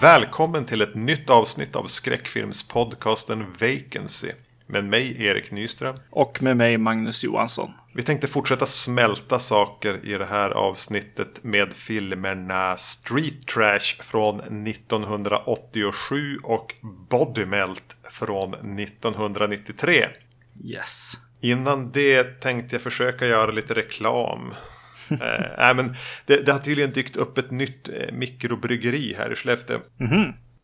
Välkommen till ett nytt avsnitt av skräckfilmspodcasten Vacancy med mig Erik Nyström. Och med mig Magnus Johansson. Vi tänkte fortsätta smälta saker i det här avsnittet med filmerna Street Trash från 1987 och Body Melt från 1993. Yes. Innan det tänkte jag försöka göra lite reklam. eh, äh, men det, det har tydligen dykt upp ett nytt eh, mikrobryggeri här i Skellefteå.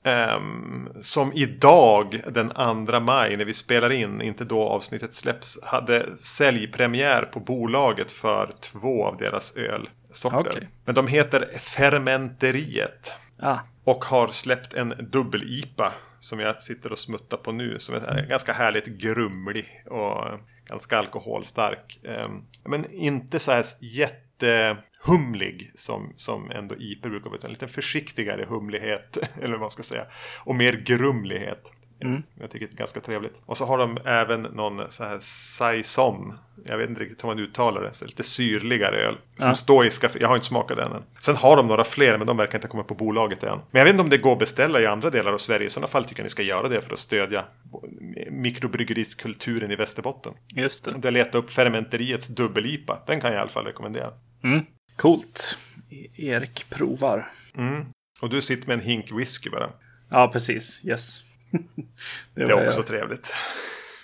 Ehm, som idag, den 2 maj, när vi spelar in, inte då avsnittet släpps, hade säljpremiär på bolaget för två av deras ölsorter. Okej. Men de heter Fermenteriet. Ah, Och har släppt en dubbel-IPA som jag sitter och smuttar på nu. Som är ganska härligt grumlig och ganska alkoholstark. Ehm, Men inte så här jättehumlig som, som ändå IPA brukar vara. Utan lite försiktigare humlighet. Eller vad man ska säga. Och mer grumlighet. Som Jag tycker det är ganska trevligt. Och så har de även någon så här saison. Jag vet inte riktigt hur man uttalar det. Så lite syrligare öl. Som Ja. står i skafferiet. Jag har inte smakat den än. Sen har de några fler men de verkar inte komma på bolaget än. Men jag vet inte om det går att beställa i andra delar av Sverige. I sådana fall tycker jag ni ska göra det för att stödja mikrobryggerieskulturen i Västerbotten. just det. Där leta upp Fermenteriets dubbel-IPA. Den kan jag i alla fall rekommendera. Mm. Coolt. E- Erik provar. Mm. Och du sitter med en hink whisky bara. Ja, precis. Yes. det Det var är också jag. trevligt.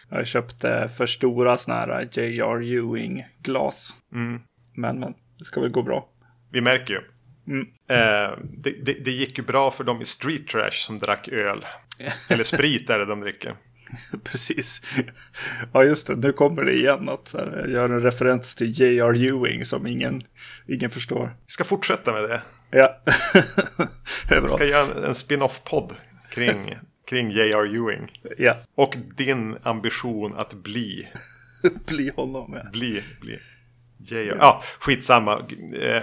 jag köpte för stora såna här J.R. Ewing-glas. Mm. Men, men, det ska väl gå bra. Vi märker ju. Mm. Eh, det, det, det gick ju bra för dem i Street Trash som drack öl. Eller sprit är det de dricker. Precis. Ja, just det. Nu kommer det igen att så här, jag gör en referens till J.R. Ewing som ingen, ingen förstår. Vi ska fortsätta med det. Ja, det är Vi ska bra. göra en, en spin-off-podd kring, kring J.R. Ewing. Ja, Och din ambition att bli, bli honom. Ja. bli, bli J.R. Ja, skitsamma. Eh,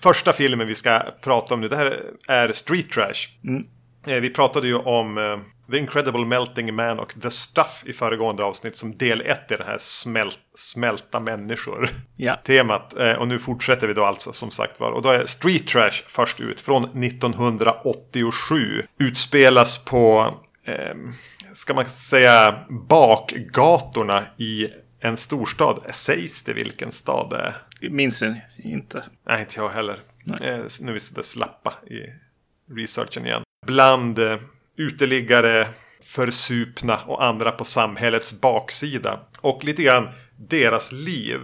första filmen vi ska prata om nu, det här är Street Trash. Eh, Vi pratade ju om eh, The Incredible Melting Man och The Stuff i föregående avsnitt som del ett i den här smält, smälta Ja. människor-temat. Eh, Och nu fortsätter vi då alltså som sagt var. Och då är Street Trash först ut från 1987. Utspelas på, eh, ska man säga, bakgatorna i en storstad. Sägs det vilken stad det är? Minns jag inte. Nej, inte jag heller. Eh, s- nu är vi sådär slappa i researchen igen. Bland eh, uteliggare, försupna och andra på samhällets baksida. Och lite grann deras liv.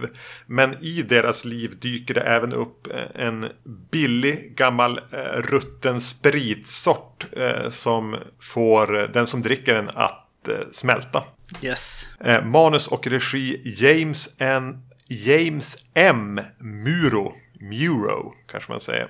Men i deras liv dyker det även upp eh, en billig gammal eh, rutten spritsort eh, som får eh, den som dricker den att eh, smälta. Yes. Eh, manus och regi James, N, James M. Muro. Muro, kanske man säger.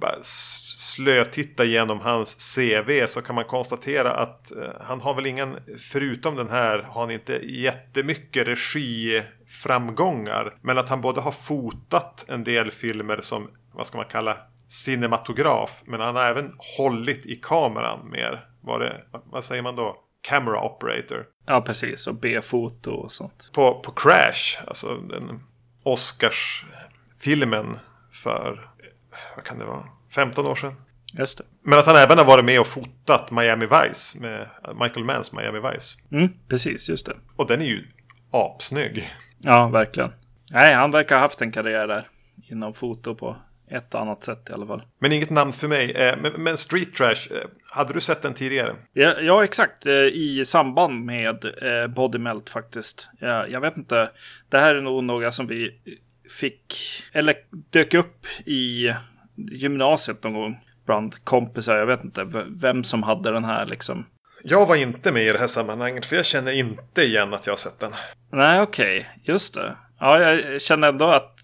Bara s- slötitta igenom hans CV så kan man konstatera att eh, han har väl ingen, förutom den här, har han inte jättemycket regiframgångar. Men att han både har fotat en del filmer som, vad ska man kalla, cinematograf. Men han har även hållit i kameran mer. Var det, vad säger man då? Camera operator Ja, precis. Och B-foto och sånt. på, på Crash, alltså den Oscars-filmen för, eh, vad kan det vara, 15 år sedan. Just det. Men att han även har varit med och fotat Miami Vice med Michael Manns Miami Vice. Mm, precis, just det. Och den är ju apsnygg. Ja, verkligen. Nej, han verkar ha haft en karriär där. Inom foto på ett annat sätt i alla fall. Men inget namn för mig. Eh, Men, men Street Trash, eh, hade du sett den tidigare? Ja, ja exakt. Eh, I samband med eh, Body Melt faktiskt. Ja, jag vet inte. Det här är nog några som vi fick, eller dök upp i gymnasiet någon gång. Bland kompisar, jag vet inte v- vem som hade den här liksom. Jag var inte med i det här sammanhanget för jag känner inte igen att jag har sett den. Nej, okej. Just det. Ja, jag känner ändå att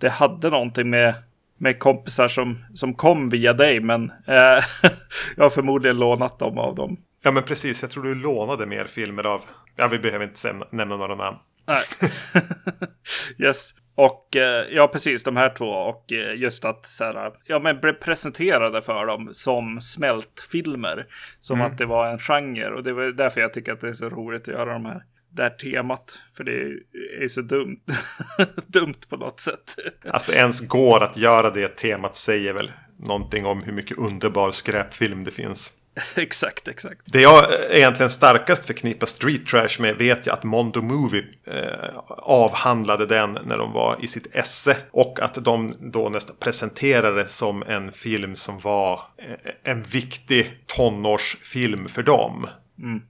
det hade någonting med, med kompisar som, som kom via dig, men eh, jag har förmodligen lånat dem av dem. Ja men precis, jag tror du lånade mer filmer av... Ja, vi behöver inte sämna- nämna några namn. Nej. yes. Och eh, ja, precis de här två och eh, just att så här, ja, men bli presenterade för dem som smältfilmer. Som att det var en genre och det var därför jag tycker att det är så roligt att göra de här. Det här temat, för det är är ju så dumt. dumt på något sätt. Alltså, Att det ens går att göra det temat säger väl någonting om hur mycket underbar skräpfilm det finns. exakt, exakt. Det jag egentligen starkast förknippar Street Trash med vet jag att Mondo Movie eh, avhandlade den när de var i sitt esse. Och att de då nästan presenterade som en film som var eh, en viktig tonårsfilm för dem. Mm.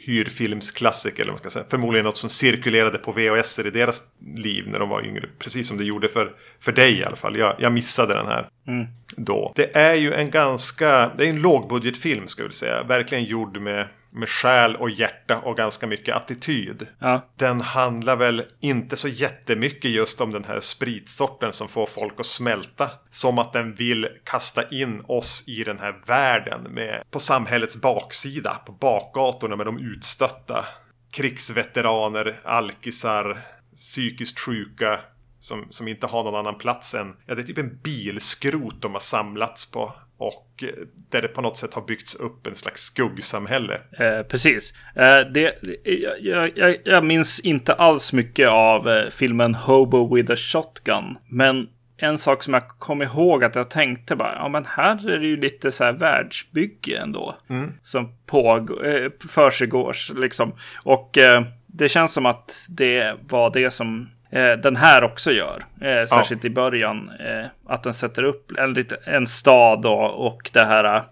Hyrfilmsklassiker eller vad man ska säga. Förmodligen något som cirkulerade på VHS i deras liv när de var yngre. Precis som det gjorde för, för dig i alla fall. Jag, jag missade den här. Mm. Då. Det är ju en ganska, det är en lågbudgetfilm ska vi säga. Verkligen gjord med, med själ och hjärta och ganska mycket attityd. Ja. Den handlar väl inte så jättemycket just om den här spritsorten som får folk att smälta. Som att den vill kasta in oss i den här världen med, på samhällets baksida, på bakgatorna med de utstötta. Krigsveteraner, alkisar, psykiskt sjuka, som, som inte har någon annan plats än, ja det är typ en bilskrot de har samlats på. Och eh, där det på något sätt har byggts upp en slags skuggsamhälle. Eh, precis. Eh, det, jag- jag, jag, jag minns inte alls mycket av eh, filmen Hobo with a Shotgun. Men en sak som jag kom ihåg att jag tänkte bara, ja men här är det ju lite så här världsbygge ändå. Som pågår, eh, försiggås liksom. Och eh, det känns som att det var det som eh, den här också gör. Eh, särskilt i början. Eh, att den sätter upp en, lite- en stad och, och det här eh,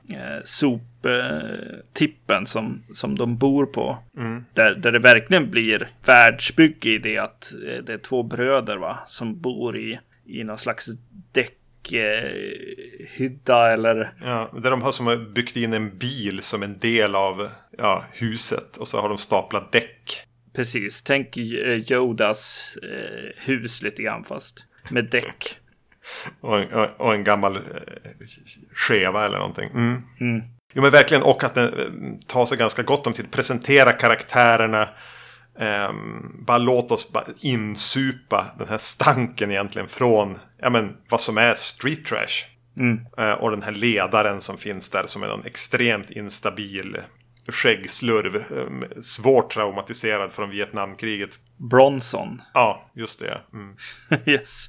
soptippen som, som de bor på. Där, där det verkligen blir världsbygge i det att eh, det är två bröder va, som bor i, i någon slags däckhydda eh, hydda eller Ja, där de har som byggt in en bil som en del av ja, huset och så har de staplat däck. Precis, tänk eh, Yodas eh, hus lite grann fast med däck. Och en, och- och en gammal eh, skeva eller någonting. Mm. Jo men verkligen, och att den eh, tar sig ganska gott om tid. Presentera karaktärerna. Ehm, bara låt oss bara insupa den här stanken egentligen från ja, men, vad som är street trash. Eh, och den här ledaren som finns där som är någon extremt instabil skäggsslurv. eh, svårt traumatiserad från Vietnamkriget. Bronson. Ja, just det. Mm. yes.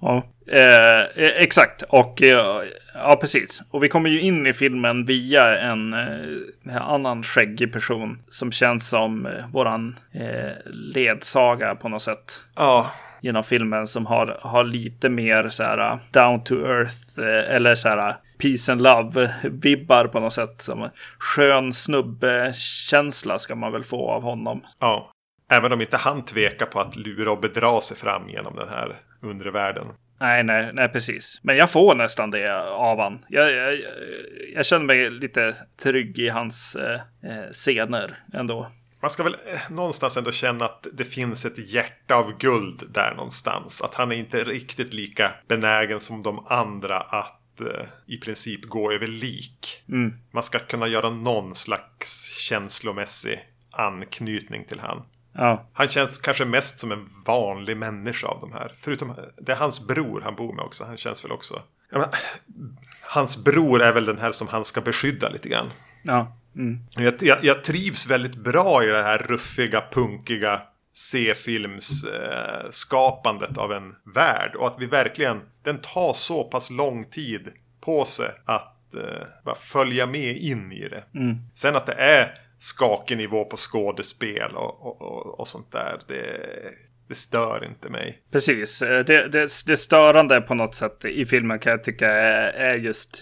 Ja, eh, eh, exakt. Och eh, ja, precis. Och vi kommer ju in i filmen via en eh, annan skäggig person som känns som eh, våran eh, ledsaga på något sätt. Ja, genom filmen som har, har lite mer så här eh, down to earth eh, eller så här peace and love vibbar på något sätt. Som skön snubbe-känsla ska man väl få av honom. Ja. Även om inte han tvekar på att lura och bedra sig fram genom den här undre världen. Nej, nej, nej, precis. Men jag får nästan det av han. Jag, jag, jag känner mig lite trygg i hans eh, eh, scener ändå. Man ska väl eh, någonstans ändå känna att det finns ett hjärta av guld där någonstans. Att han är inte riktigt lika benägen som de andra att eh, i princip gå över lik. Man ska kunna göra någon slags känslomässig anknytning till han. Ja, Han känns kanske mest som en vanlig människa av de här. Förutom, det är hans bror han bor med också. Han känns väl också... Ja, men, hans bror är väl den här som han ska beskydda lite grann. ja. Mm. Jag, jag, jag trivs väldigt bra i det här ruffiga, punkiga C-filmsskapandet eh, skapandet av en värld. Och att vi verkligen... Den tar så pass lång tid på sig att eh, bara följa med in i det. Sen att det är skakig nivå på skådespel och, och, och, och sånt där. Det, det stör inte mig. Precis. Eh, Det, det, det störande på något sätt i filmen kan jag tycka är, är just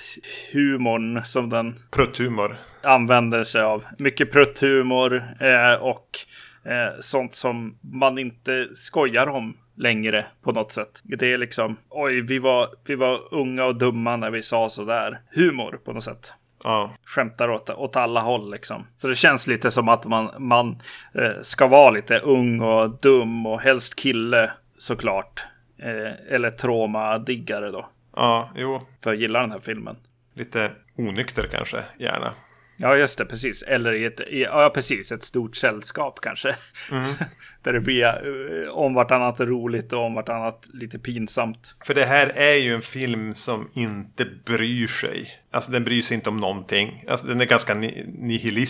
humorn som den Prutthumor. använder sig av. Mycket prutthumor eh, och eh, sånt som man inte skojar om längre på något sätt. Det är liksom oj, vi var, vi var unga och dumma när vi sa sådär. Humor på något sätt. Ja. Skämtar åt, åt alla håll liksom. Så det känns lite som att man, man eh, ska vara lite ung och dum och helst kille såklart. Eh, eller traumadiggare då. Ja, jo. För att gilla den här filmen. Lite onykter kanske, gärna. Ja, just det, precis. Eller i ett, i, ja, precis, ett stort sällskap kanske. Där det blir eh, om vartannat roligt och om vartannat lite pinsamt. För det här är ju en film som inte bryr sig. Alltså den bryr sig inte om någonting. Alltså den är ganska ni-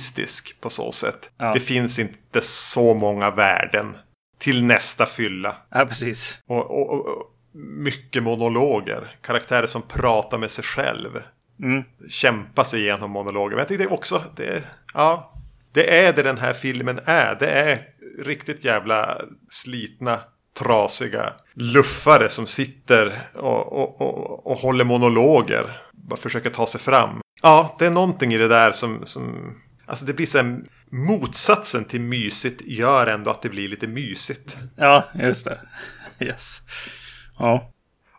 nihilistisk på så sätt. Ja. Det finns inte så många värden till nästa fylla. Ja, precis. Och, och, och, och mycket monologer. Karaktärer som pratar med sig själv. Mm. Kämpa sig igenom monologer. Men jag tyckte också att det, ja, det är det den här filmen är. Det är riktigt jävla slitna, trasiga luffare som sitter och, och, och, och håller monologer. Bara försöker ta sig fram. Ja, det är någonting i det där som... som alltså det blir så här, motsatsen till mysigt gör ändå att det blir lite mysigt. Ja, just det. Yes. Ja.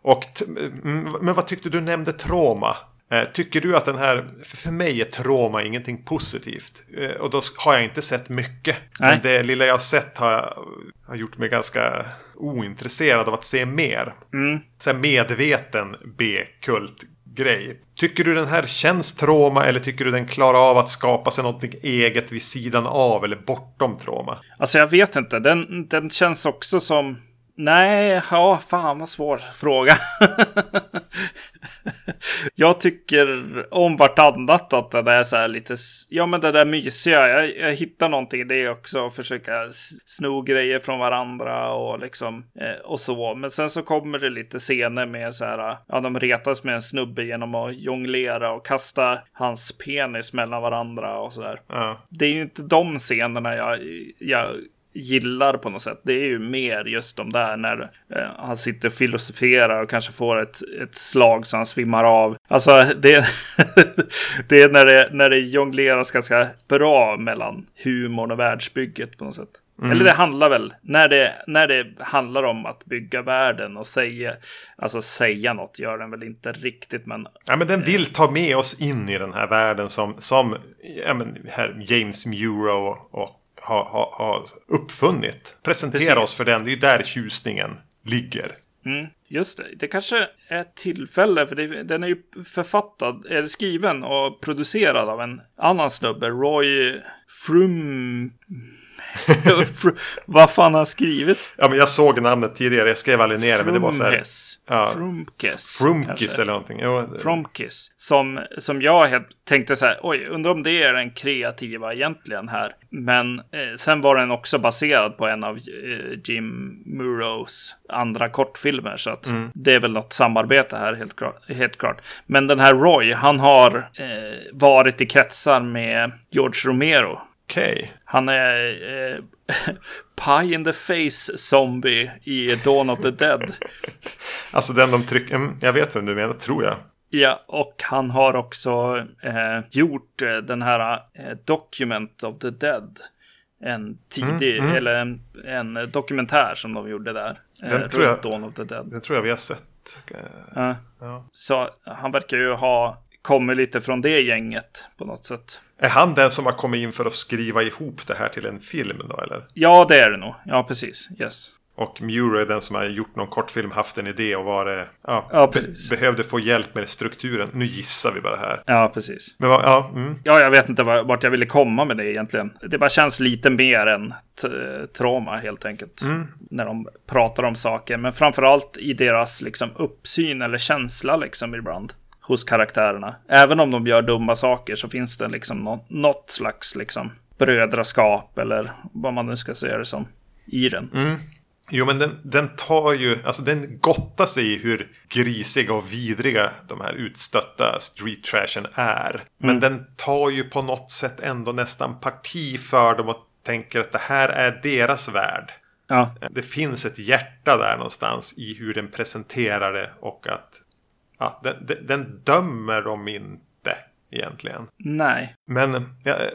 Och, t- mm, men vad tyckte du nämnde trauma? Eh, Tycker du att den här, för- för mig är trauma ingenting positivt. Eh, Och då har jag inte sett mycket. Nej. Men det lilla jag har sett har, jag, har gjort mig ganska ointresserad av att se mer. Mm. Så här medveten B-kult-grej. Tycker du den här känns trauma eller tycker du den klarar av att skapa sig något eget vid sidan av eller bortom trauma? Alltså jag vet inte. Den, den känns också som... Nej, ja, fan vad svår fråga. jag tycker om vartannat att det där är så här lite... s- Ja, men det där mysiga. Jag, jag hittar någonting i det också. Och försöka s- sno grejer från varandra och liksom... Eh, och så. Men sen så kommer det lite scener med så här... Ja, de retas med en snubbe genom att jonglera och kasta hans penis mellan varandra och så där Ja. det är ju inte de scenerna jag, jag gillar på något sätt. Det är ju mer just de där när eh, han sitter och filosoferar och kanske får ett, ett slag så han svimmar av. Alltså det, det är när det, när det jongleras ganska bra mellan humorn och världsbygget på något sätt. Eller det handlar väl, när det, när det handlar om att bygga världen och säga, alltså säga något gör den väl inte riktigt men Ja, men den vill ta med oss in i den här världen som, som ja, men, här James Muro och har ha, ha uppfunnit. Presentera Precis. oss för den, det är ju där tjusningen ligger. Mm, just det. Det kanske är ett tillfälle, för det, den är ju författad, eller skriven och producerad av en annan snubbe, Roy Frum... Fr- Vad fan har han skrivit? Ja, men jag såg namnet tidigare, jag skrev aldrig ner det, men det var så här... Frumhes. Ja. Frumkes. Frumkis kanske. eller någonting. Jo, Fromkis. Som, som jag helt tänkte så här, oj, undrar om det är den kreativa egentligen här. Men eh, sen var den också baserad på en av eh, Jim Murrows andra kortfilmer. Så att det är väl något samarbete här helt klart, helt klart. Men den här Roy, han har eh, varit i kretsar med George Romero. Okej. Han är eh, pie in the face zombie i Dawn of the Dead. Alltså den de trycker... Mm, jag vet vem du menar, tror jag. Ja, och han har också eh, gjort eh, den här eh, Document of the Dead. Mm, En tidig, eller en, en dokumentär som de gjorde där. Eh, Den tror jag- runt Dawn of the Dead. Den tror jag vi har sett. Eh, Ja. Ja. Så han verkar ju ha kommit lite från det gänget på något sätt. Är han den som har kommit in för att skriva ihop det här till en film då, eller? Ja, det är det nog. Ja, precis. Yes. Och Muir är den som har gjort någon kortfilm, haft en idé och var det... Ja, Ja, precis. be- behövde få hjälp med strukturen. Nu gissar vi bara här. Ja, precis. Men vad- ja, mm. Ja, jag vet inte var- vart jag ville komma med det egentligen. Det bara känns lite mer än t- trauma helt enkelt. När de pratar om saker. Men framförallt i deras liksom, uppsyn eller känsla liksom, ibland. Hos karaktärerna. Även om de gör dumma saker så finns det liksom nå- något slags liksom, brödraskap eller vad man nu ska säga det som. I den. Jo, men den, den tar ju... Alltså den gottar sig i hur grisiga och vidriga de här utstötta street trashen är. Men den tar ju på något sätt ändå nästan parti för dem och tänker att det här är deras värld. Ja, Det finns ett hjärta där någonstans i hur den presenterar det och att ja, den, den, den dömer dem inte egentligen. nej. Men jag eh,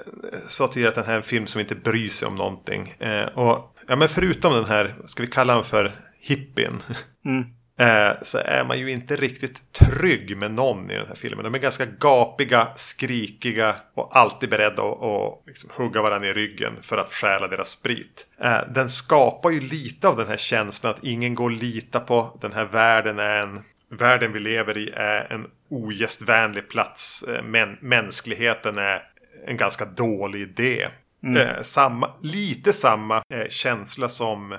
sa tidigare att den här är en film som inte bryr sig om någonting. Eh, och ja, men förutom den här, ska vi kalla den för hippien? Mm. Eh, så är man ju inte riktigt trygg med någon i den här filmen. De är ganska gapiga, skrikiga och alltid beredda att att liksom hugga varandra i ryggen för att stjäla deras sprit. Eh, den skapar ju lite av den här känslan att ingen går att lita på. Den här världen är en... Världen vi lever i är en ogästvänlig plats. Eh, Men mänskligheten är en ganska dålig idé. Eh, samma, lite samma eh, känsla som eh,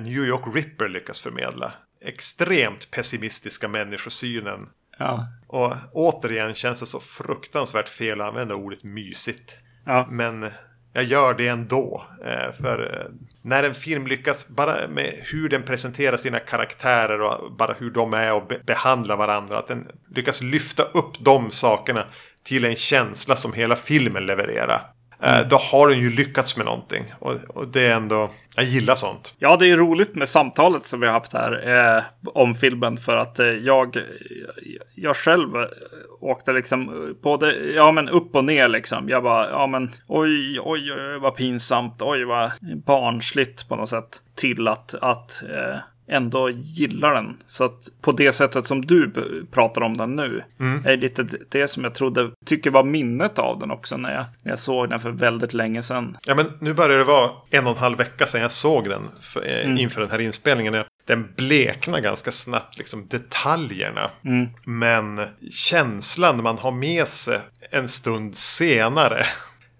New York Ripper lyckas förmedla. Extremt pessimistiska människosynen. Ja. Och återigen känns det så fruktansvärt fel att använda ordet mysigt. Ja. Men jag gör det ändå. Eh, för eh, när en film lyckas bara med hur den presenterar sina karaktärer och bara hur de är och be behandlar varandra. Att den lyckas lyfta upp de sakerna till en känsla som hela filmen levererar. Eh, Då har den ju lyckats med någonting. Och, och det är ändå... Jag gillar sånt. Ja, det är roligt med samtalet som vi har haft här eh, om filmen för att eh, jag, jag själv eh, åkte liksom både ja, men upp och ner liksom. Jag bara, ja men oj, oj, oj, vad pinsamt, oj, vad barnsligt på något sätt. Till att, att eh, ändå gillar den. Så att på det sättet som du b- pratar om den nu är lite d- det som jag trodde, tycker var minnet av den också när jag, när jag såg den för väldigt länge sedan. Ja, men nu börjar det vara en och en halv vecka sedan jag såg den för, eh, inför den här inspelningen. Jag- Den bleknar ganska snabbt, liksom detaljerna. Men känslan man har med sig en stund senare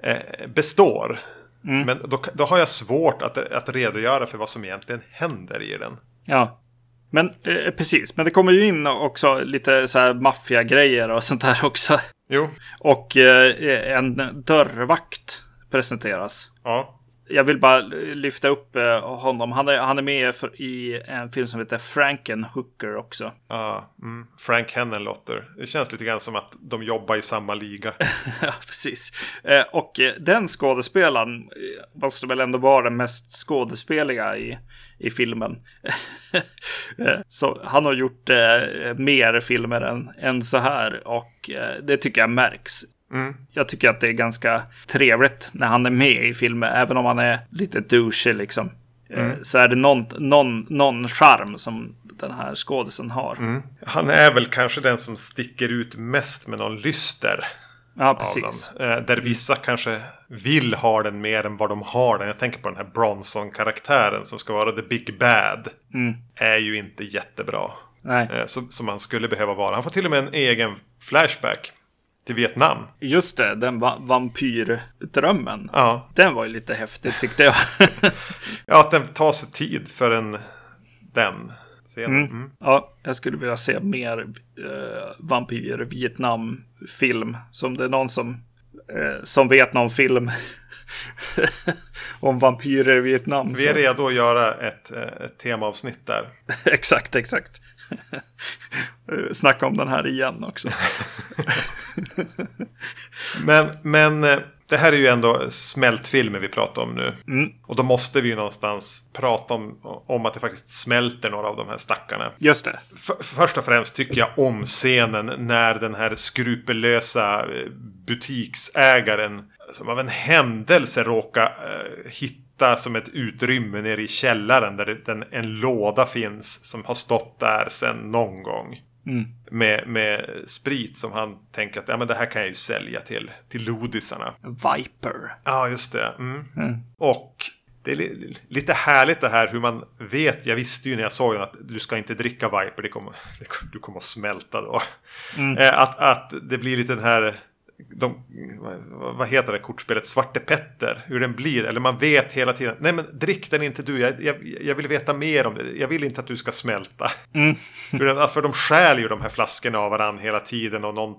eh, består. Men då, då har jag svårt att, att redogöra för vad som egentligen händer i den. Ja. Men eh, precis, men det kommer ju in också lite så här maffiagrejer och sånt där också. Jo, Och eh, en dörrvakt presenteras. ja. Jag vill bara lyfta upp eh, honom. Han är, han är med för, i en film som heter Frankenhooker också. ja, mm, Frank Henenlotter. Det känns lite grann som att de jobbar i samma liga. Ja, precis. Eh, Och eh, den skådespelaren eh, måste väl ändå vara den mest skådespeliga i, i filmen. Eh, så han har gjort eh, mer filmer än, än så här och eh, det tycker jag märks. Jag tycker att det är ganska trevligt när han är med i filmer, även om han är lite douchey liksom. Eh, Så är det någon, någon, någon charm som den här skådisen har. Han är väl kanske den som sticker ut mest med någon lyster. Ja, av precis. dem. Eh, där vissa kanske vill ha den mer än vad de har den. Jag tänker på den här Bronson-karaktären som ska vara the big bad. Är ju inte jättebra. Nej. Eh, så, som han skulle behöva vara. Han får till och med en egen flashback till Vietnam. Just det, den va- vampyrdrömmen. Ja, Den var ju lite häftig tyckte jag. ja att den tar sig tid för en, den. scenen. Mm. ja, jag skulle vilja se mer eh, vampyr Vietnam-film. Som det är någon som, eh, som vet någon film om vampyrer i Vietnam. Vi är så- redo att göra ett, eh, ett temaavsnitt där. exakt, exakt. Eh, Snacka om den här igen också. Men, men eh, det här är ju ändå smältfilmer vi pratar om nu. Och då måste vi ju någonstans prata om, om att det faktiskt smälter några av de här stackarna. Just det. F- först och främst tycker jag om scenen när den här skrupellösa eh, butiksägaren som av en händelse råkar eh, hitta som ett utrymme nere i källaren där det, en, en låda finns som har stått där sedan någon gång. Med, med sprit som han tänker att ja, men det här kan jag ju sälja till, till lodisarna. Viper. Ja, just det. Mm. Och det är li- lite härligt det här hur man vet. Jag visste ju när jag såg den att du ska inte dricka Viper. Det kommer, det kommer, du kommer att smälta då. Eh, Att, att det blir lite den här. De, vad- vad heter det kortspelet? Svarte Petter. Hur den blir. Eller man vet hela tiden. Nej men drick den inte du. Jag, jag, jag vill veta mer om det. Jag vill inte att du ska smälta. Hur den- alltså, För de stjäl ju de här flaskorna av varandra hela tiden. Och någon,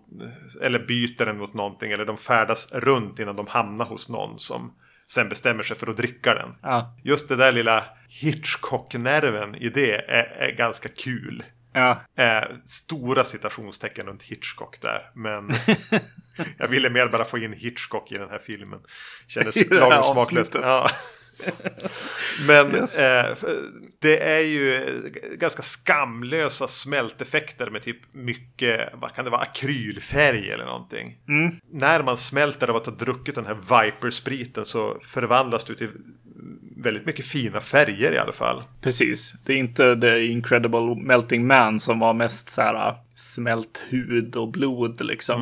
eller byter den mot någonting. Eller de färdas runt innan de hamnar hos någon som sen bestämmer sig för att dricka den. Ja. Just det där lilla Hitchcock-nerven i det är, är ganska kul. Ja. Eh, stora citationstecken runt Hitchcock där. Men jag ville mer bara få in Hitchcock i den här filmen. I Kändes det här lagom smaklöst. avsnittet. Ja. Men Yes. eh, för- det är ju eh, ganska skamlösa smälteffekter med typ mycket, vad kan det vara, akrylfärg eller någonting. Mm. När man smälter av att ha druckit den här Viper-spriten så förvandlas det till väldigt mycket fina färger i alla fall. Precis. Det är inte The Incredible Melting Man som var mest så här äh, smält hud och blod liksom.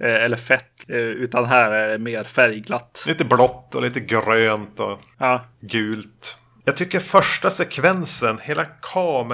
Eh, eller fett. Eh, utan här är det mer färgglatt. Lite blått och lite grönt och Ja, gult. Jag tycker första sekvensen, hela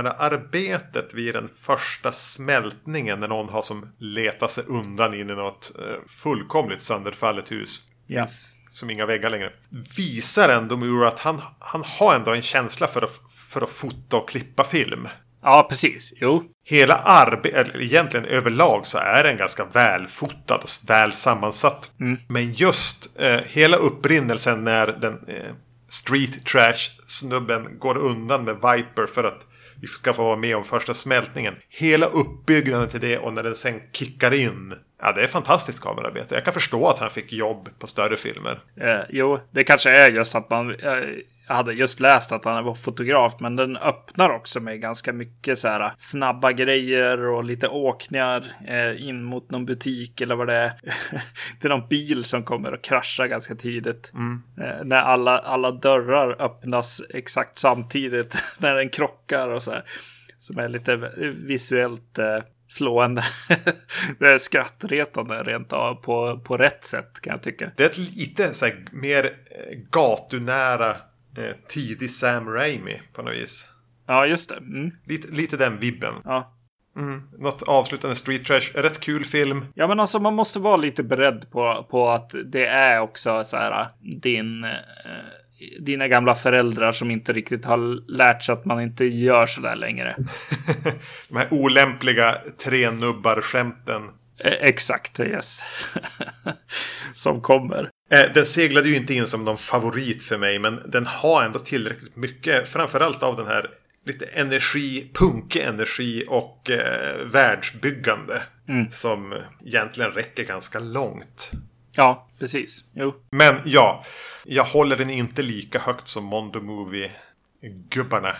kameraarbetet vid den första smältningen när någon har som letat sig undan in i något eh, fullkomligt sönderfallet hus. Ja. Finns Som inga väggar längre. Visar ändå Mura att han, han har ändå en känsla för att, för att fota och klippa film. Ja, precis. Jo. Hela arbetet, eller egentligen överlag så är den ganska välfotad och väl sammansatt. Mm. Men just eh, hela upprinnelsen när den eh, street trash snubben går undan med Viper för att vi ska få vara med om första smältningen. Hela uppbyggnaden till det och när den sen kickar in. Ja, det är fantastiskt kamerarbete. Jag kan förstå att han fick jobb på större filmer. Eh, jo, det kanske är just att man... eh, jag hade just läst att han var fotograf, men den öppnar också med ganska mycket så här eh, snabba grejer och lite åkningar eh, in mot någon butik eller vad det är. det är någon bil som kommer och kraschar ganska tidigt. Eh, när alla, alla dörrar öppnas exakt samtidigt när den krockar och så här. Som är lite visuellt eh, slående. det är skrattretande rent av på, på rätt sätt kan jag tycka. Det är ett lite så här, mer eh, gatunära eh, tidig Sam Raimi på något vis. Ja, just det. Mm. Lite, lite den vibben. Ja. Mm. Något avslutande street trash. Rätt kul film. ja, men alltså man måste vara lite beredd på, på att det är också så här äh, din, eh, dina gamla föräldrar som inte riktigt har lärt sig att man inte gör så där längre. De här olämpliga trenubbar-skämten. Eh, Exakt, yes. som kommer. Eh, Den seglade ju inte in som någon favorit för mig, men den har ändå tillräckligt mycket. Framförallt av den här lite energi, punkig energi och eh, världsbyggande. Som egentligen räcker ganska långt. Ja, precis. Jo. Men ja, jag håller den inte lika högt som Mondo Movie-gubbarna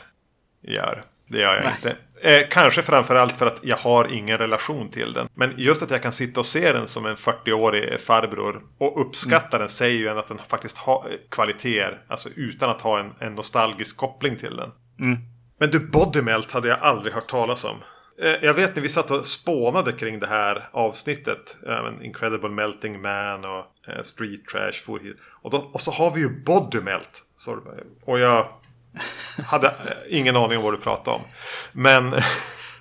gör. Det gör jag Nej. inte. Eh, kanske framförallt för att jag har ingen relation till den. Men just att jag kan sitta och se den som en 40-årig farbror och uppskatta den säger ju en att den faktiskt har eh, kvaliteter. Alltså utan att ha en, en nostalgisk koppling till den. Mm. Men du, Bodymelt hade jag aldrig hört talas om. Eh, Jag vet när vi satt och spånade kring det här avsnittet. eh, men Incredible Melting Man och eh, Street Trash. for hit. Och, då, och så har vi ju Bodymelt. Så- Och jag hade eh, ingen aning om vad du pratade om. Men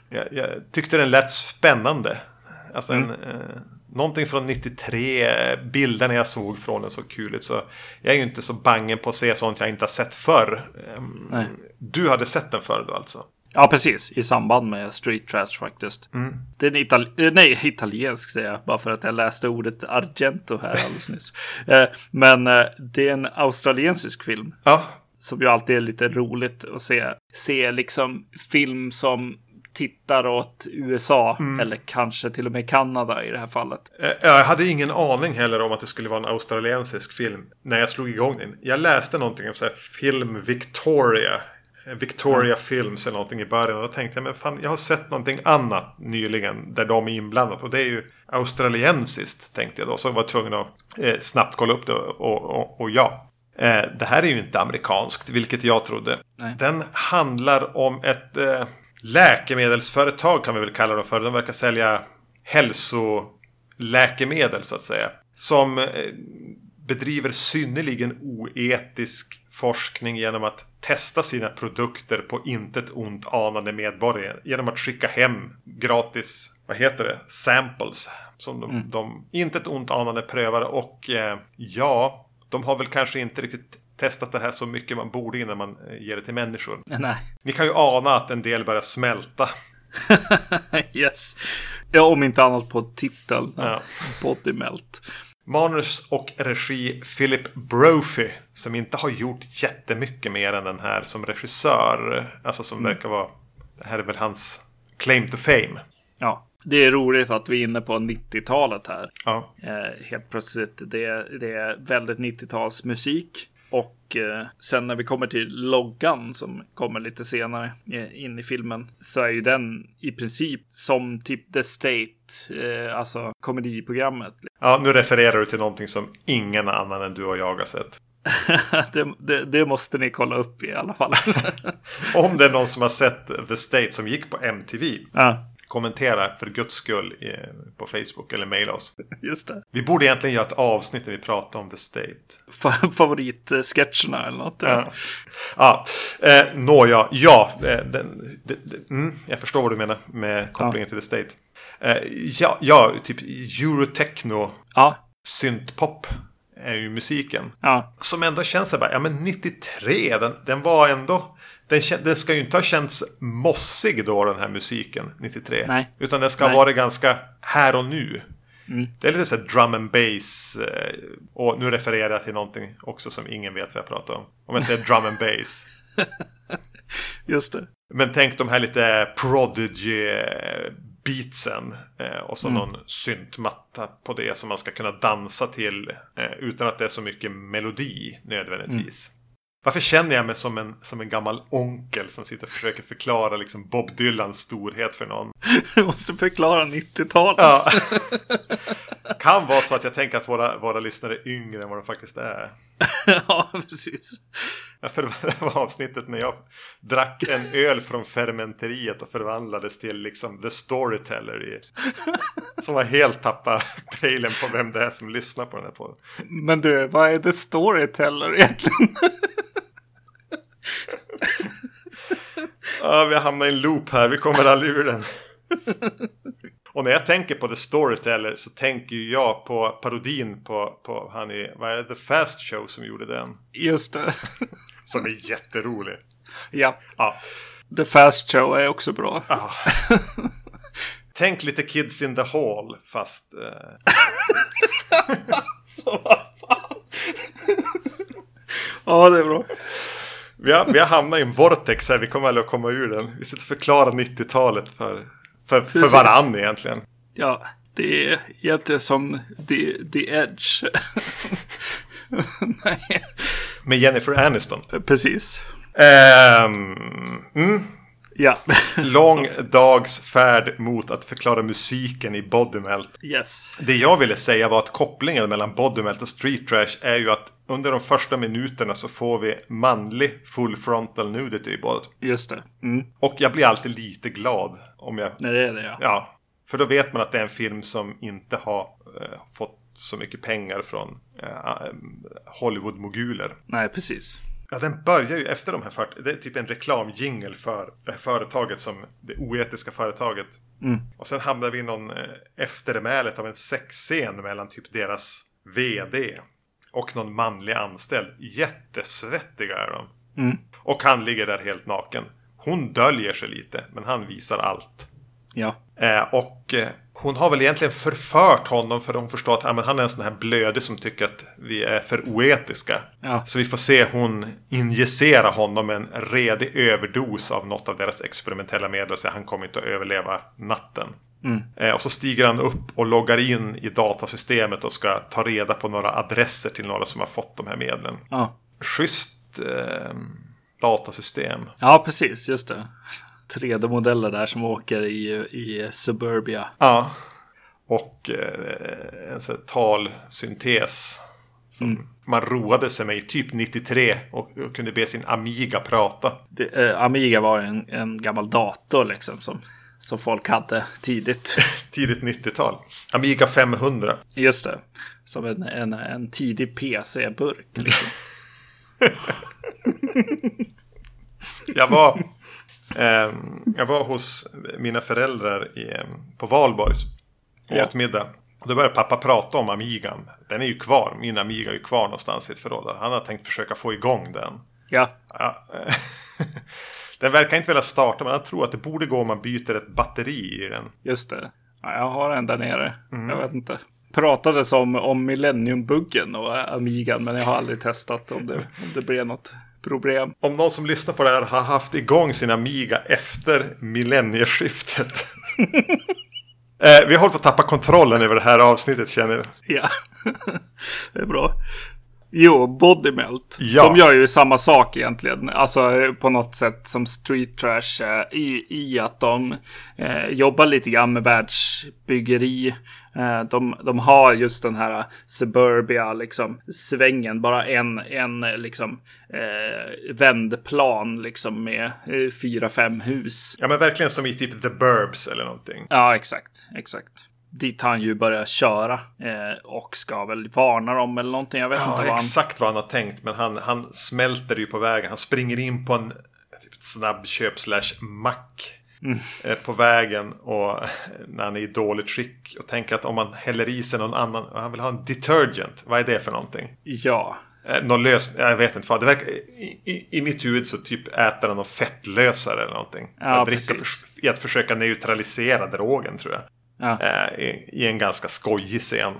jag, jag tyckte den lät spännande. Alltså en, eh, någonting från 93. eh, Bilderna jag såg från den såg kul ut. Så jag är ju inte så bangen på att se sånt jag inte har sett förr. Ehm, Nej. du hade sett den förr då alltså? Ja, precis. I samband med Street Trash faktiskt. Det är en itali- eh, nej, italiensk säger jag, bara för att jag läste ordet Argento här alldeles nyss. Eh, Men eh, det är en australiensisk film Ja. som ju alltid är lite roligt att se. Se liksom film som tittar åt USA eller kanske till och med Kanada i det här fallet. Eh, Jag hade ingen aning heller om att det skulle vara en australiensisk film när jag slog igång den. Jag läste någonting om så här film Victoria. eh, Victoria Films eller någonting i början. Och då tänkte jag, men fan, jag har sett någonting annat nyligen där de är inblandat. Och det är ju australiensiskt, tänkte jag då. Så jag var tvungen att eh, snabbt kolla upp det. Och, och, och ja, Eh, det här är ju inte amerikanskt, vilket jag trodde. Nej. Den handlar om ett eh, läkemedelsföretag kan vi väl kalla dem för. De verkar sälja hälsoläkemedel så att säga. Som eh, bedriver synnerligen oetisk forskning genom att testa sina produkter på intet ont anande medborgare. Genom att skicka hem gratis, vad heter det, samples. Som de, de intet ont anande prövar och eh, ja, de har väl kanske inte riktigt testat det här så mycket man borde innan man eh, ger det till människor. Nej. Ni kan ju ana att en del börjar smälta. yes. Ja, om inte annat på titeln. Ja. Body Melt. Manus och regi Philip Brophy, som inte har gjort jättemycket mer än den här som regissör. Alltså som verkar vara, det här är väl hans claim to fame. Ja, det är roligt att vi är inne på 90-talet här. Ja, Eh, helt plötsligt. Det, det är väldigt 90-talsmusik. Och eh, sen när vi kommer till loggan som kommer lite senare eh, in i filmen så är ju den i princip som typ The State, eh, alltså komediprogrammet. ja nu refererar du till någonting som ingen annan än du och jag har sett. det, det, det måste ni kolla upp i alla fall. Om det är någon som har sett The State som gick på MTV, ja, kommentera för guds skull eh, på Facebook eller mejla oss. just det. Vi borde egentligen göra ett avsnitt där vi pratar om The State. Fa- Favoritsketcherna eller något. Ja. Ja, eh, nåja, ja, eh, den, den, den, mm, jag förstår vad du menar med kopplingen till The State. Eh, ja, ja, typ Eurotechno, ja. syntpop är ju musiken. ja. Som ändå känns så här bara, ja men 93, den, den var ändå, den, kä- den ska ju inte ha känts mossig då, den här musiken 93. Nej. Utan den ska ha Nej. Mm. varit ganska här och nu. Det är lite så här drum and bass. eh, Och nu refererar jag till någonting också som ingen vet vad jag pratar om. Om jag säger drum and bass. Just det. Men tänk de här lite Prodigy-beatsen. eh, Och så någon syntmatta på det som man ska kunna dansa till. eh, Utan att det är så mycket melodi nödvändigtvis. Varför känner jag mig som en, som en gammal onkel som sitter och försöker förklara liksom Bob Dylans storhet för någon? Jag måste förklara 90-talet. Ja. kan vara så att jag tänker att våra, våra lyssnare är yngre än vad de faktiskt är. ja, precis. Ja, För det var avsnittet när jag drack en öl från fermenteriet och förvandlades till liksom the storyteller i, som var helt tappa pejlen på vem det är som lyssnar på den här podden. Men du, vad är The Storyteller egentligen? Ja, vi hamnar i en loop här, vi kommer aldrig ur den. Och när jag tänker på the storyteller så tänker ju jag på parodin på, på han i, vad är det, The Fast Show som gjorde den. Just det. Som är jätterolig. Ja. Ja, The Fast Show är också bra. Ah. Tänk lite Kids in the Hall fast... Eh, Så Alltså, vad fan. ja, det är bra. vi, har, vi har hamnat i en vortex här, vi kommer aldrig att komma ur den. Vi sitter och förklarar 90-talet för, för, för Precis. varann egentligen. Ja, det är egentligen som The, the Edge. Nej, Med Jennifer Aniston. precis. Ehm, mm, Ja, lång dags färd mot att förklara musiken i Bodymelt. yes. Det jag ville säga var att kopplingen mellan Bodymelt och Street Trash är ju att under de första minuterna så får vi manlig full frontal nudity i båda. Just det. Mm. Och jag blir alltid lite glad om jag Nej, det är det ja. Ja, för då vet man att det är en film som inte har eh, fått så mycket pengar från eh, Hollywood-moguler. Nej, precis. Ja, den börjar ju efter de här 40, det är typ en reklamjingel för det här företaget som det oetiska företaget. Och sen hamnar vi i någon eh, eftermälet av en sexscen mellan typ deras vd och någon manlig anställd. Jättesvettiga är de. Och han ligger där helt naken. Hon döljer sig lite, men han visar allt. Ja. Eh, och eh, hon har väl egentligen förfört honom för hon förstår att ah, men han är en sån här blöde som tycker att vi är för oetiska. Ja. Så vi får se hon injicera honom en redig överdos av något av deras experimentella medel och säga han kommer inte att överleva natten. Eh, och så stiger han upp och loggar in i datasystemet och ska ta reda på några adresser till några som har fått de här medlen. Ja, Schysst ehm, datasystem. ja precis. Just det. 3D-modeller där som åker i, i Suburbia. Ja. Och eh, en sån här talsyntes. Som man roade sig med i typ 93 och, och kunde be sin Amiga prata. Det, eh, Amiga var en, en gammal dator liksom som, som folk hade tidigt. Tidigt 90-tal. Amiga 500. Just det. Som en, en, en tidig PC-burk. Liksom. Jag var, eh, jag var hos mina föräldrar i, eh, på Valborg och Ja. åt middag. Och då började pappa prata om Amigan. Den är ju kvar. Min Amiga är ju kvar någonstans i ett förråd. där. Han har tänkt försöka få igång den. Ja, Ja. eh, Den verkar inte vilja starta, men jag tror att det borde gå om man byter ett batteri i den. just det. Ja, jag har en där nere. Jag vet inte. Pratades om, om Millennium-buggen och eh, Amigan, men jag har aldrig testat om det, om det blev något problem. Om någon som lyssnar på det här har haft igång sin Amiga efter millennieskiftet. eh, vi håller på att tappa kontrollen över det här avsnittet känner jag. Ja, det är bra. Jo, Bodymelt. Ja. De gör ju samma sak egentligen. Alltså eh, på något sätt som Street Trash eh, i, i att de eh, jobbar lite grann med världsbyggeri. Eh, de, de har just den här suburbia liksom, svängen, bara en, en eh, liksom, eh, vändplan liksom, med eh, fyra, fem hus. Ja men verkligen som i typ The Burbs eller någonting. Ja, exakt. Exakt. Dit han ju börjar köra eh, och ska väl varna dem eller någonting. Jag vet Jag inte vet vad inte han... exakt vad han har tänkt men han, han smälter ju på vägen. Han springer in på en typ ett snabbköp slash mack Mm. eh, på vägen och eh, när han är i dåligt skick och tänker att om man häller i sig någon annan, han vill ha en detergent, vad är det för någonting? Ja, Eh, Någon lös... Jag vet inte. Fan, det verkar... I, i, I mitt huvud så typ äter han någon fettlösare eller någonting. Ja, Att dricka precis. för, I att försöka neutralisera drogen tror jag. Ja. Eh, I, I en ganska skojig scen.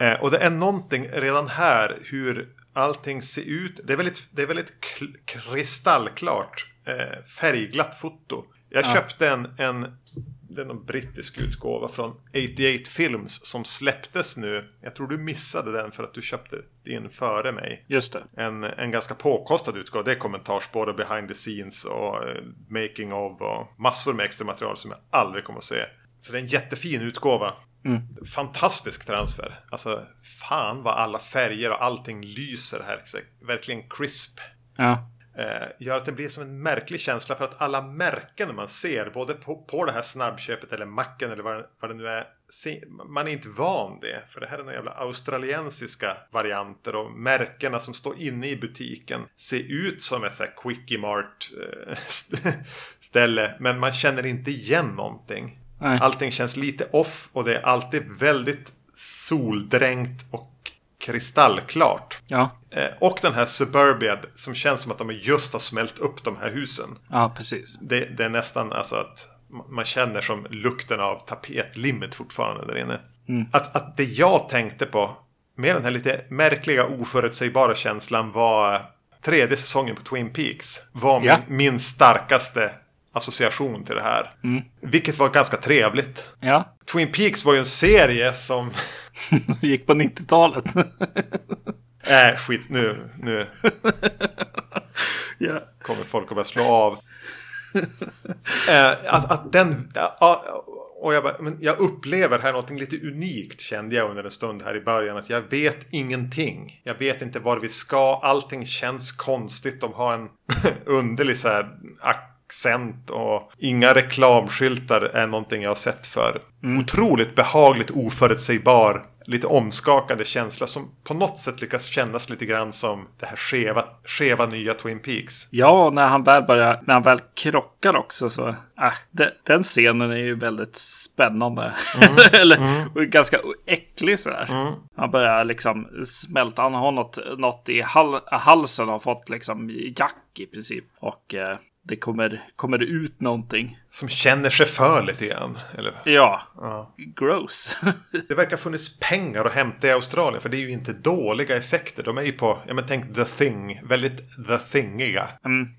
Eh, och det är någonting redan här hur allting ser ut. Det är väldigt, det är väldigt kl- kristallklart eh, färgglatt foto. Jag köpte en, en det är någon brittisk utgåva från 88 Films som släpptes nu. Jag tror du missade den för att du köpte din före mig Just det. en, en ganska påkostad utgåva. Det är kommentarsspår och behind the scenes och eh, making of och massor med extra material som jag aldrig kommer att se. Så det är en jättefin utgåva. Fantastisk transfer. Alltså fan vad alla färger och allting lyser här. Verkligen crisp. Ja. Eh, gör att det blir som en märklig känsla för att alla märken man ser både på, på det här snabbköpet eller macken eller vad, det- vad det nu är. Se, man är inte van det. För det här är några jävla australiensiska varianter och märkena som står inne i butiken ser ut som ett så här quickie mart eh, st- ställe. Men man känner inte igen någonting. Nej. Allting känns lite off och det är alltid väldigt soldränkt och kristallklart. Ja. Eh, Och den här Suburbia som känns som att de just har smält upp de här husen. Ja, precis. Det, det är nästan alltså att ma- man känner som lukten av tapetlimmet fortfarande där inne. Att, att det jag tänkte på med den här lite märkliga oförutsägbara känslan var tredje säsongen på Twin Peaks. Var min, Ja. min starkaste association till det här. Vilket var ganska trevligt. Ja. Twin Peaks var ju en serie som Gick på 90-talet. Äh, skit. Nu, nu. Kommer folk att börja slå av. Eh, att, att den... ja, och jag, bara, men jag upplever här någonting lite unikt kände jag under en stund här i början. Att jag vet ingenting. Jag vet inte var vi ska. Allting känns konstigt. De har en underlig så här accent och inga reklamskyltar är någonting jag har sett för. Otroligt behagligt oförutsägbar lite omskakande känsla som på något sätt lyckas kännas lite grann som det här skeva, skeva nya Twin Peaks. ja, och när han väl börjar, när han väl krockar också så. Äh, de, den scenen är ju väldigt spännande. Eller och ganska äcklig sådär. Han börjar liksom smälta. Han har något, något i hal, halsen. Har fått liksom jack i princip. Och eh, det kommer, kommer det ut någonting. Som känner sig för lite grann. Eller? Ja. Gross. Det verkar ha funnits pengar att hämta i Australien för det är ju inte dåliga effekter. De är ju på, ja men tänk The Thing, väldigt The Thingiga.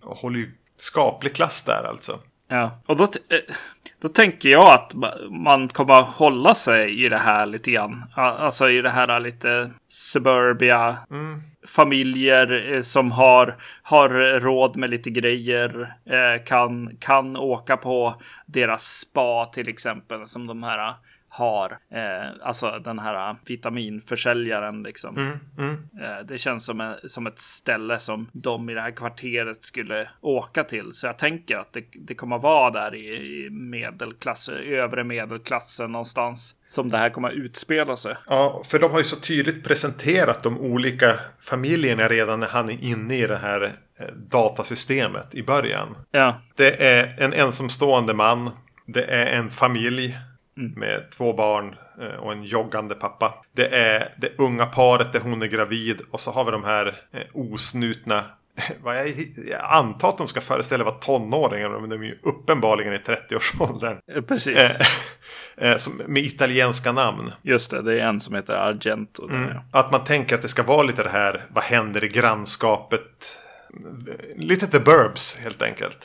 Och håller ju skaplig klass där alltså. Ja, och då, t- eh, då tänker jag att ma- man kommer att hålla sig i det här lite grann. A- Alltså i det här lite suburbia. Familjer eh, som har, har råd med lite grejer. eh, Kan, kan åka på deras spa till exempel. Som de här har. Eh, Alltså den här vitaminförsäljaren liksom. Eh, Det känns som, en, som ett ställe som de i det här kvarteret skulle åka till. Så jag tänker att det, det kommer vara där i, i medelklass, övre medelklassen någonstans. Som det här kommer utspela sig. Ja, för de har ju så tydligt presenterat de olika familjerna redan när han är inne i det här eh, datasystemet i början. Ja, Det är en ensamstående man. Det är en familj med två barn eh, och en joggande pappa. Det är det unga paret där hon är gravid och så har vi de här eh, osnutna vad jag, jag antar att de ska föreställa vara tonåringar, men de är ju uppenbarligen i 30-årsåldern. eh, precis. Eh, eh, som, med italienska namn. Just det, det är en som heter Argento. där, ja. Att man tänker att det ska vara lite det här, vad händer i grannskapet? Lite the burbs helt enkelt.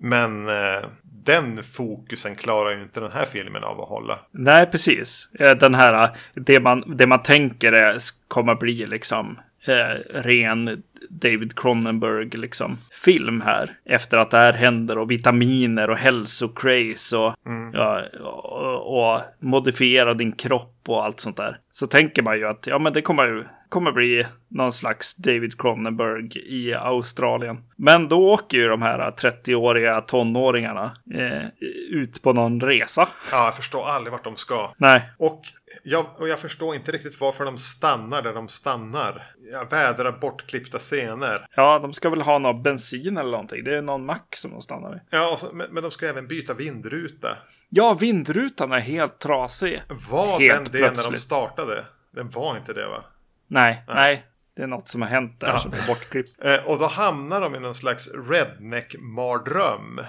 Men eh, den fokusen klarar ju inte den här filmen av att hålla. Nej, precis. Eh, Den här, eh, det man, det man tänker är, s- kommer bli liksom eh, ren David Cronenberg liksom film här. Efter att det här händer och vitaminer och hälsocraze och, ja, och, och modifiera din kropp och allt sånt där. Så tänker man ju att ja, men det kommer ju kommer bli någon slags David Cronenberg i Australien. Men då åker ju de här 30-åriga tonåringarna eh, ut på någon resa. Ja, jag förstår aldrig vart de ska. Nej, Och jag, och jag förstår inte riktigt varför de stannar där de stannar. Jag vädrar bortklippta scener. Ja, de ska väl ha någon bensin eller någonting. Det är någon mack som de stannar vid. Ja, och så, men, men de ska även byta vindruta. Ja, vindrutan är helt trasig. Var den Helt det när de plötsligt. startade? Den var inte det va? Nej, nej. Det är något som har hänt där Ja. som är bortklippt. Eh, och då hamnar de i någon slags redneck-mardröm.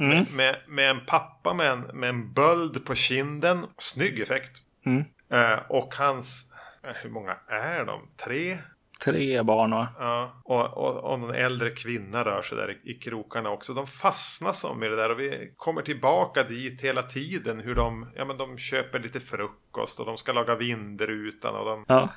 Med, med, med en pappa med en, med en böld på kinden. Snygg effekt. Mm. Eh, och hans... eh, Hur många är de? Tre? Tre barn va? Ja. Och, och, och någon äldre kvinna rör sig där i, i krokarna också. De fastnar som i det där och vi kommer tillbaka dit hela tiden. Hur de, ja, men de köper lite frukost och de ska laga vindrutan och de Ja.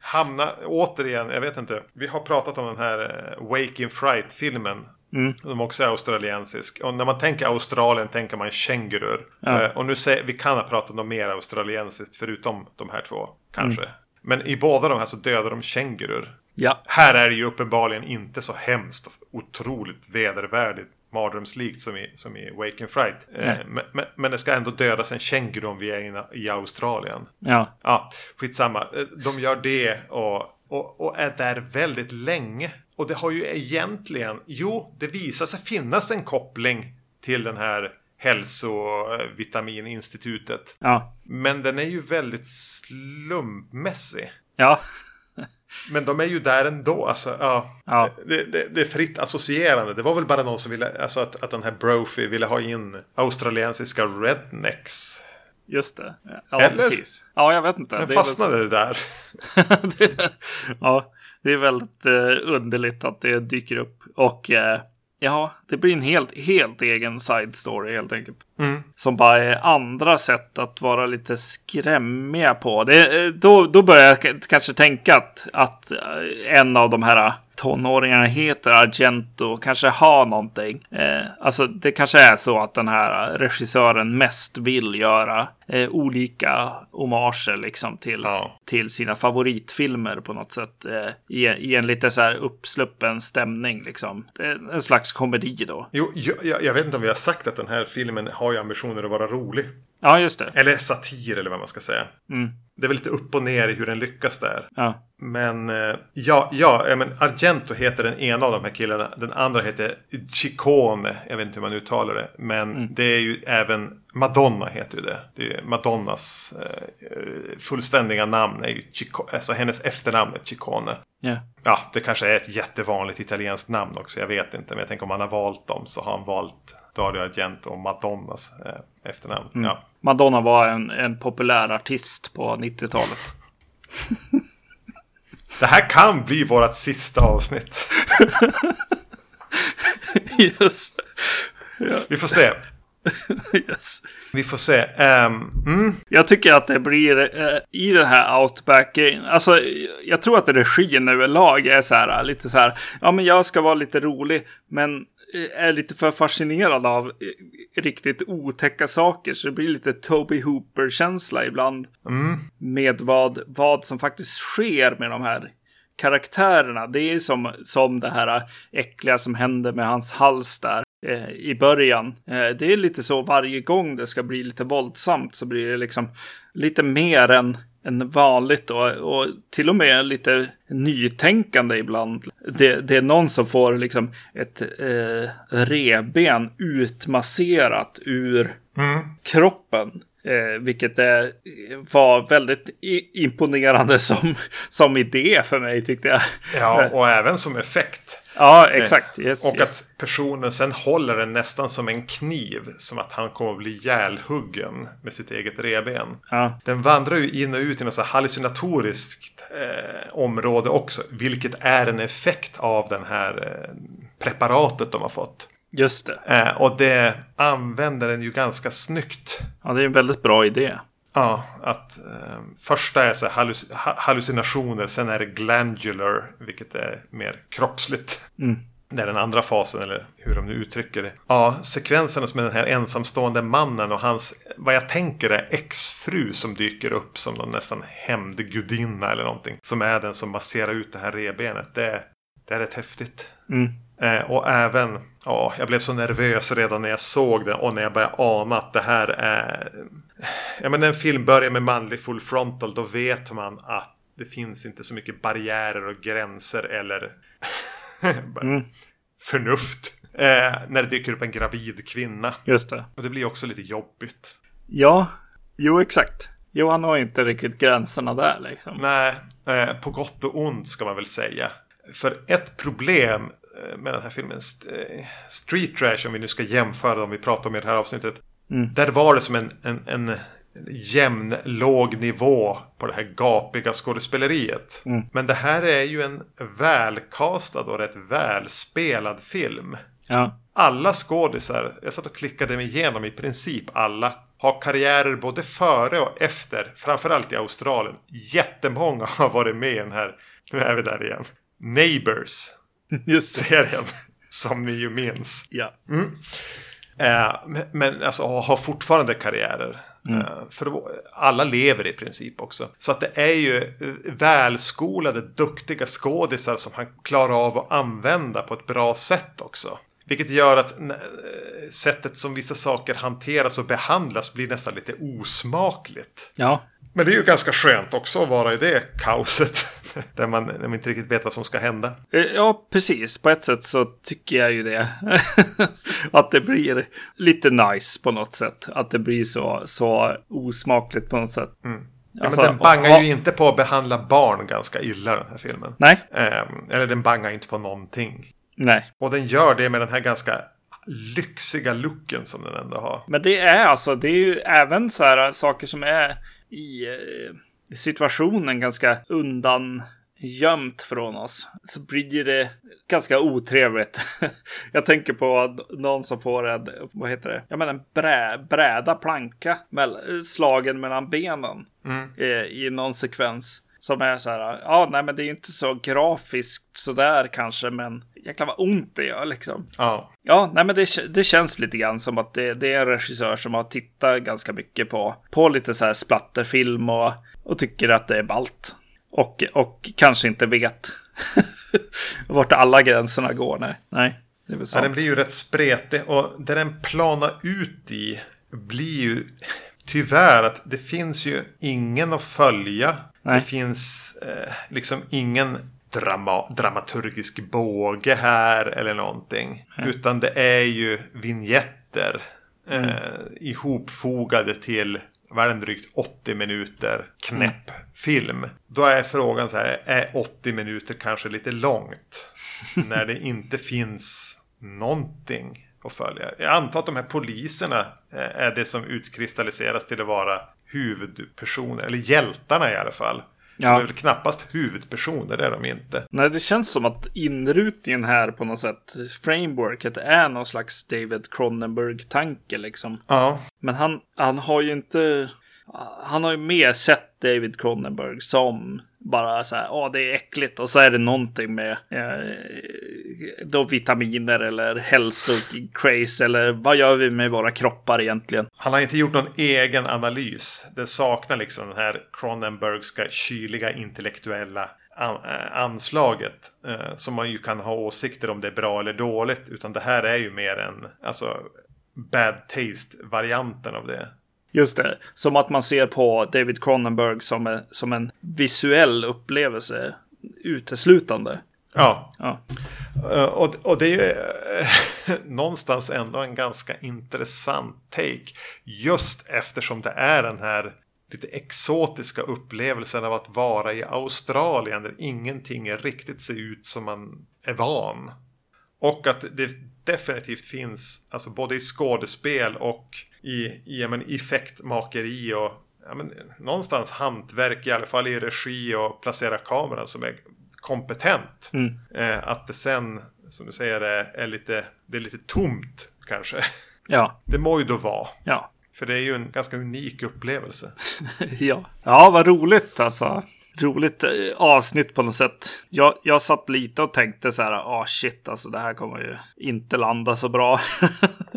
hamnar återigen, jag vet inte. Vi har pratat om den här eh, Wake in Fright-filmen. Mm. Som också är australiensisk. Och när man tänker Australien tänker man kängurur. Eh, Och nu säger, vi kan ha pratat om mer australiensiskt förutom de här två kanske. Mm. Men i båda de här så dödar de kängurur. Ja. Här är det ju uppenbarligen inte så hemskt och otroligt vedervärdigt mardrömslikt som i, som i Wake and Fright. Eh, Nej. men, men, men det ska ändå dödas en känguru om vi är inna, i Australien. Ja. Ja, skitsamma. Eh, De gör det och, och, och är där väldigt länge. Och det har ju egentligen, jo, det visar sig finnas en koppling till den här hälsovitamininstitutet. Ja. Men den är ju väldigt slumpmässig. Ja. Men de är ju där ändå. Alltså, ja. Ja. Det, det, det är fritt associerande. Det var väl bara någon som ville, alltså att, att den här Brophy ville ha in australiensiska rednecks. Just det. Ja, Eller? precis. Ja, jag vet inte. Men Det är väl så- fastnade det där. det, ja, det är väldigt eh, underligt att det dyker upp. Och eh, ja, det blir en helt, helt egen side story helt enkelt. Mm. Som bara är andra sätt att vara lite skrämmiga på. Det, eh, då, då börjar jag k- kanske tänka att, att eh, en av de här tonåringarna heter Argento, kanske har någonting. Eh, alltså det kanske är så att den här eh, regissören mest vill göra eh, olika hommager liksom till Ja. till sina favoritfilmer på något sätt. Eh, i, I en lite så här uppsluppen stämning liksom. Det är En slags komedi då. Jo, jag, jag- jag vet inte om vi har sagt att den här filmen har ju ambitioner att vara rolig. Ja, just det. Eller satir eller vad man ska säga. Mm. Det är väl lite upp och ner i hur den lyckas där. Ja. Men eh, ja, ja, ja men Argento heter den ena av de här killarna. Den andra heter Ciccone. Jag vet inte hur man uttalar det. Men det är ju även Madonna heter ju det. det är Madonnas eh, eh, fullständiga namn är ju Ciccone. Alltså hennes efternamn är Ciccone. ja. Ja, det kanske är ett jättevanligt italienskt namn också. Jag vet inte. Men jag tänker om han har valt dem så har han valt Dario Argento och Madonnas eh, efternamn. Mm. Ja. Madonna var en, en populär artist på 90-talet. Det här kan bli vårt sista avsnitt. yes. Vi får se. yes. Vi får se. Ehm, mm. Jag tycker att det blir eh, i den här outback alltså jag tror att regin överlag är så här lite så här, ja men jag ska vara lite rolig, men eh, är lite för fascinerad av eh, riktigt otäcka saker så det blir lite Toby Hooper-känsla ibland. Med vad, vad som faktiskt sker med de här karaktärerna. Det är som, som det här eh, äckliga som händer med hans hals där eh, i början. Eh, det är lite så varje gång det ska bli lite våldsamt så blir det liksom lite mer än, än vanligt och, och till och med lite nytänkande ibland. Det, det är någon som får liksom ett eh, reben utmasserat ur Mm. kroppen. Eh, vilket eh, var väldigt i- imponerande som, som idé för mig tyckte jag. Ja, och även som effekt. Ja, exakt. Yes, Eh, och yes. att personen sen håller den nästan som en kniv. Som att han kommer att bli ihjälhuggen med sitt eget reben. Ja. Den vandrar ju in och ut i något så här hallucinatoriskt eh, område också. Vilket är en effekt av den här eh, preparatet de har fått. Just det. Eh, och det använder den ju ganska snyggt. Ja, det är en väldigt bra idé. Ja, att eh, första är så här halluc- ha- hallucinationer, sen är det glandular, vilket är mer kroppsligt. Det är den andra fasen, eller hur de nu uttrycker det. Ja, sekvenserna som är den här ensamstående mannen och hans, vad jag tänker är exfru som dyker upp som någon nästan hämndgudinna eller någonting. Som är den som masserar ut det här revbenet. Det, det är rätt häftigt. Mm. Eh, och även, ja, jag blev så nervös redan när jag såg den och när jag började ana att det här är... Ja, men när en film börjar med manlig full frontal, då vet man att det finns inte så mycket barriärer och gränser eller förnuft. Eh, när det dyker upp en gravid kvinna. Just det. Och det blir också lite jobbigt. Ja, jo exakt. Jo, han har inte riktigt gränserna där liksom. Nej, eh, på gott och ont ska man väl säga. För ett problem eh, med den här filmen, st eh, Street Trash, om vi nu ska jämföra dem vi pratar om i det här avsnittet. Mm. Där var det som en, en, en jämn, låg nivå på det här gapiga skådespeleriet. Mm. Men det här är ju en välkastad och rätt välspelad film. Ja. Alla skådisar, jag satt och klickade mig igenom i princip alla, har karriärer både före och efter, framförallt i Australien. Jättemånga har varit med i den här, nu är vi där igen, Just Neighbors-serien, som ni ju minns. Ja. Eh, men- men alltså ha- har fortfarande karriärer. Eh, för då- alla lever i princip också. Så att det är ju eh, välskolade, duktiga skådisar som han klarar av att använda på ett bra sätt också. Vilket gör att n- eh, sättet som vissa saker hanteras och behandlas blir nästan lite osmakligt. Ja. Men det är ju ganska skönt också att vara i det kaoset. där, man, där man inte riktigt vet vad som ska hända. Eh, Ja, precis. På ett sätt så tycker jag ju det. att det blir lite nice på något sätt. Att det blir så, så osmakligt på något sätt. Ja, alltså, men den bangar ju inte på att behandla barn ganska illa den här filmen. Nej, Ehm, eller den bangar inte på någonting. nej. Och den gör det med den här ganska lyxiga looken som den ändå har. Men det är alltså, det är ju även så här saker som är i eh, situationen ganska undan gömt från oss så blir det ganska otrevligt. Jag tänker på någon som får en, vad heter det, ja men en brä, bräda planka mell- slagen mellan benen eh, i någon sekvens. Som är så här, ja nej men det är ju inte så grafiskt sådär kanske men jäklar vad ont det gör liksom. Ja. Ja, nej men det, det känns lite grann som att det, det är en regissör som har tittat ganska mycket på, på lite så här splatterfilm och, och tycker att det är balt. Och, och kanske inte vet vart alla gränserna går. Nej, nej det är väl ja. sant. Den blir ju rätt spretig och där den planar ut i blir ju tyvärr att det finns ju ingen att följa. Nej. Det finns eh, liksom ingen drama dramaturgisk båge här eller någonting. Utan det är ju vignetter eh, ihopfogade till vad är den, drygt 80 minuter knäpp film. Då är frågan så här, är 80 minuter kanske lite långt? när det inte finns någonting att följa. Jag antar att de här poliserna eh, är det som utkristalliseras till att vara huvudpersoner, eller hjältarna i alla fall. Ja. De är väl knappast huvudpersoner, det är de inte. Nej, det känns som att inrutningen här på något sätt, frameworket, är någon slags David Cronenberg-tanke liksom. Ja, Men han, han har ju inte... Han har ju mer sett David Cronenberg som bara så här, ja det är äckligt och så är det någonting med eh, då vitaminer eller hälsocraze eller vad gör vi med våra kroppar egentligen? han har inte gjort någon egen analys. Det saknar liksom den här Cronenbergska kyliga intellektuella an- eh, anslaget eh, som man ju kan ha åsikter om det är bra eller dåligt utan det här är ju mer en alltså bad taste varianten av det. Just det, som att man ser på David Cronenberg som en, som en visuell upplevelse uteslutande. Ja, Ja, Eh, Och, och det är ju eh, någonstans ändå en ganska intressant take. Just eftersom det är den här lite exotiska upplevelsen av att vara i Australien där ingenting är riktigt ser ut som man är van. Och att det definitivt finns, alltså både i skådespel och i, i ja, men, effektmakeri och ja, men, någonstans hantverk, i alla fall i regi och placera kameran som är kompetent. Eh, att det sen, som du säger, är, är lite, det är lite tomt kanske. ja, Det må ju då vara. ja. För det är ju en ganska unik upplevelse. Ja. ja, vad roligt alltså. Roligt eh, avsnitt på något sätt. Jag, jag satt lite och tänkte så här, ah shit, alltså det här kommer ju inte landa så bra.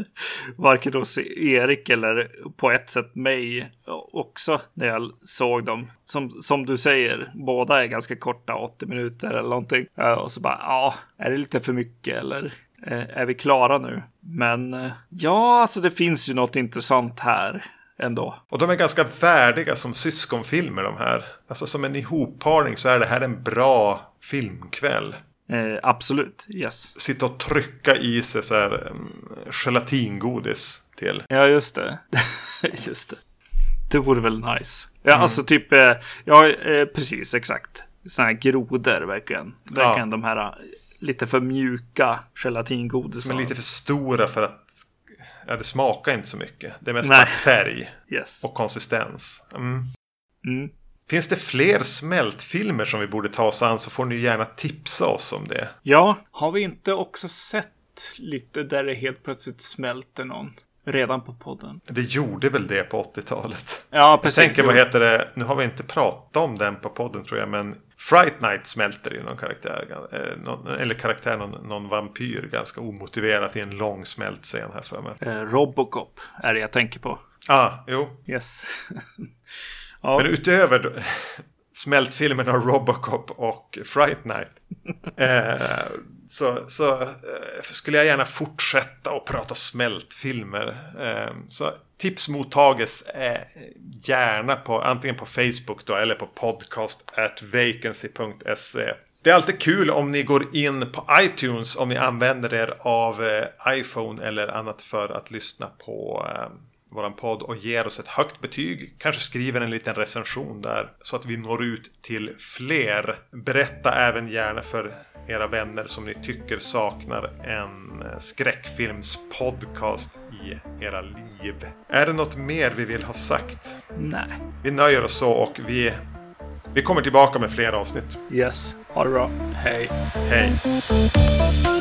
Varken hos Erik eller på ett sätt mig också när jag såg dem. Som, som du säger, båda är ganska korta, 80 minuter eller någonting. Eh, Och så bara, ja, är det lite för mycket eller eh, är vi klara nu? Men eh, ja, alltså det finns ju något intressant här ändå. Och de är ganska värdiga som syskonfilmer de här. Alltså som en ihopparning så är det här en bra filmkväll. Eh, absolut, yes. Sitta och trycka i sig så här mm, gelatingodis till. Ja, just det. just det. Det vore väl nice. Ja, alltså typ, eh, ja eh, precis exakt. Sådana här grodor verkligen. Verkligen de här eh, lite för mjuka Som är gelatingodisarna. lite för stora för att... Ja, det smakar inte så mycket. Det är mest Nej. bara färg Yes. och konsistens. Mm. Mm. Finns det fler smältfilmer som vi borde ta oss an så får ni gärna tipsa oss om det. Ja, har vi inte också sett lite där det helt plötsligt smälter någon? Redan på podden. Det gjorde väl det på 80-talet. Ja, Jag precis. tänker, vad Jo. heter det? Nu har vi inte pratat om den på podden tror jag, men Fright Night smälter ju någon karaktär, eh, någon, eller karaktär, någon, någon vampyr, ganska omotiverat i en lång smält scen här för mig. Eh, Robocop är det jag tänker på. Ah, jo. Yes. ja, Men utöver då- smältfilmen av Robocop och Fright Night eh, så, så eh, skulle jag gärna fortsätta att prata smältfilmer. Eh, så tips mottages eh, gärna på antingen på Facebook då, eller på podcast at vacancy.se. Det är alltid kul om ni går in på iTunes om ni använder er av eh, iPhone eller annat för att lyssna på eh, våran podd och ger oss ett högt betyg. Kanske skriver en liten recension där så att vi når ut till fler. Berätta även gärna för era vänner som ni tycker saknar en eh, skräckfilmspodcast i era liv. Är det något mer vi vill ha sagt? nej. Vi nöjer oss så och vi, vi kommer tillbaka med fler avsnitt. Yes, ha det bra. Hej. Hej!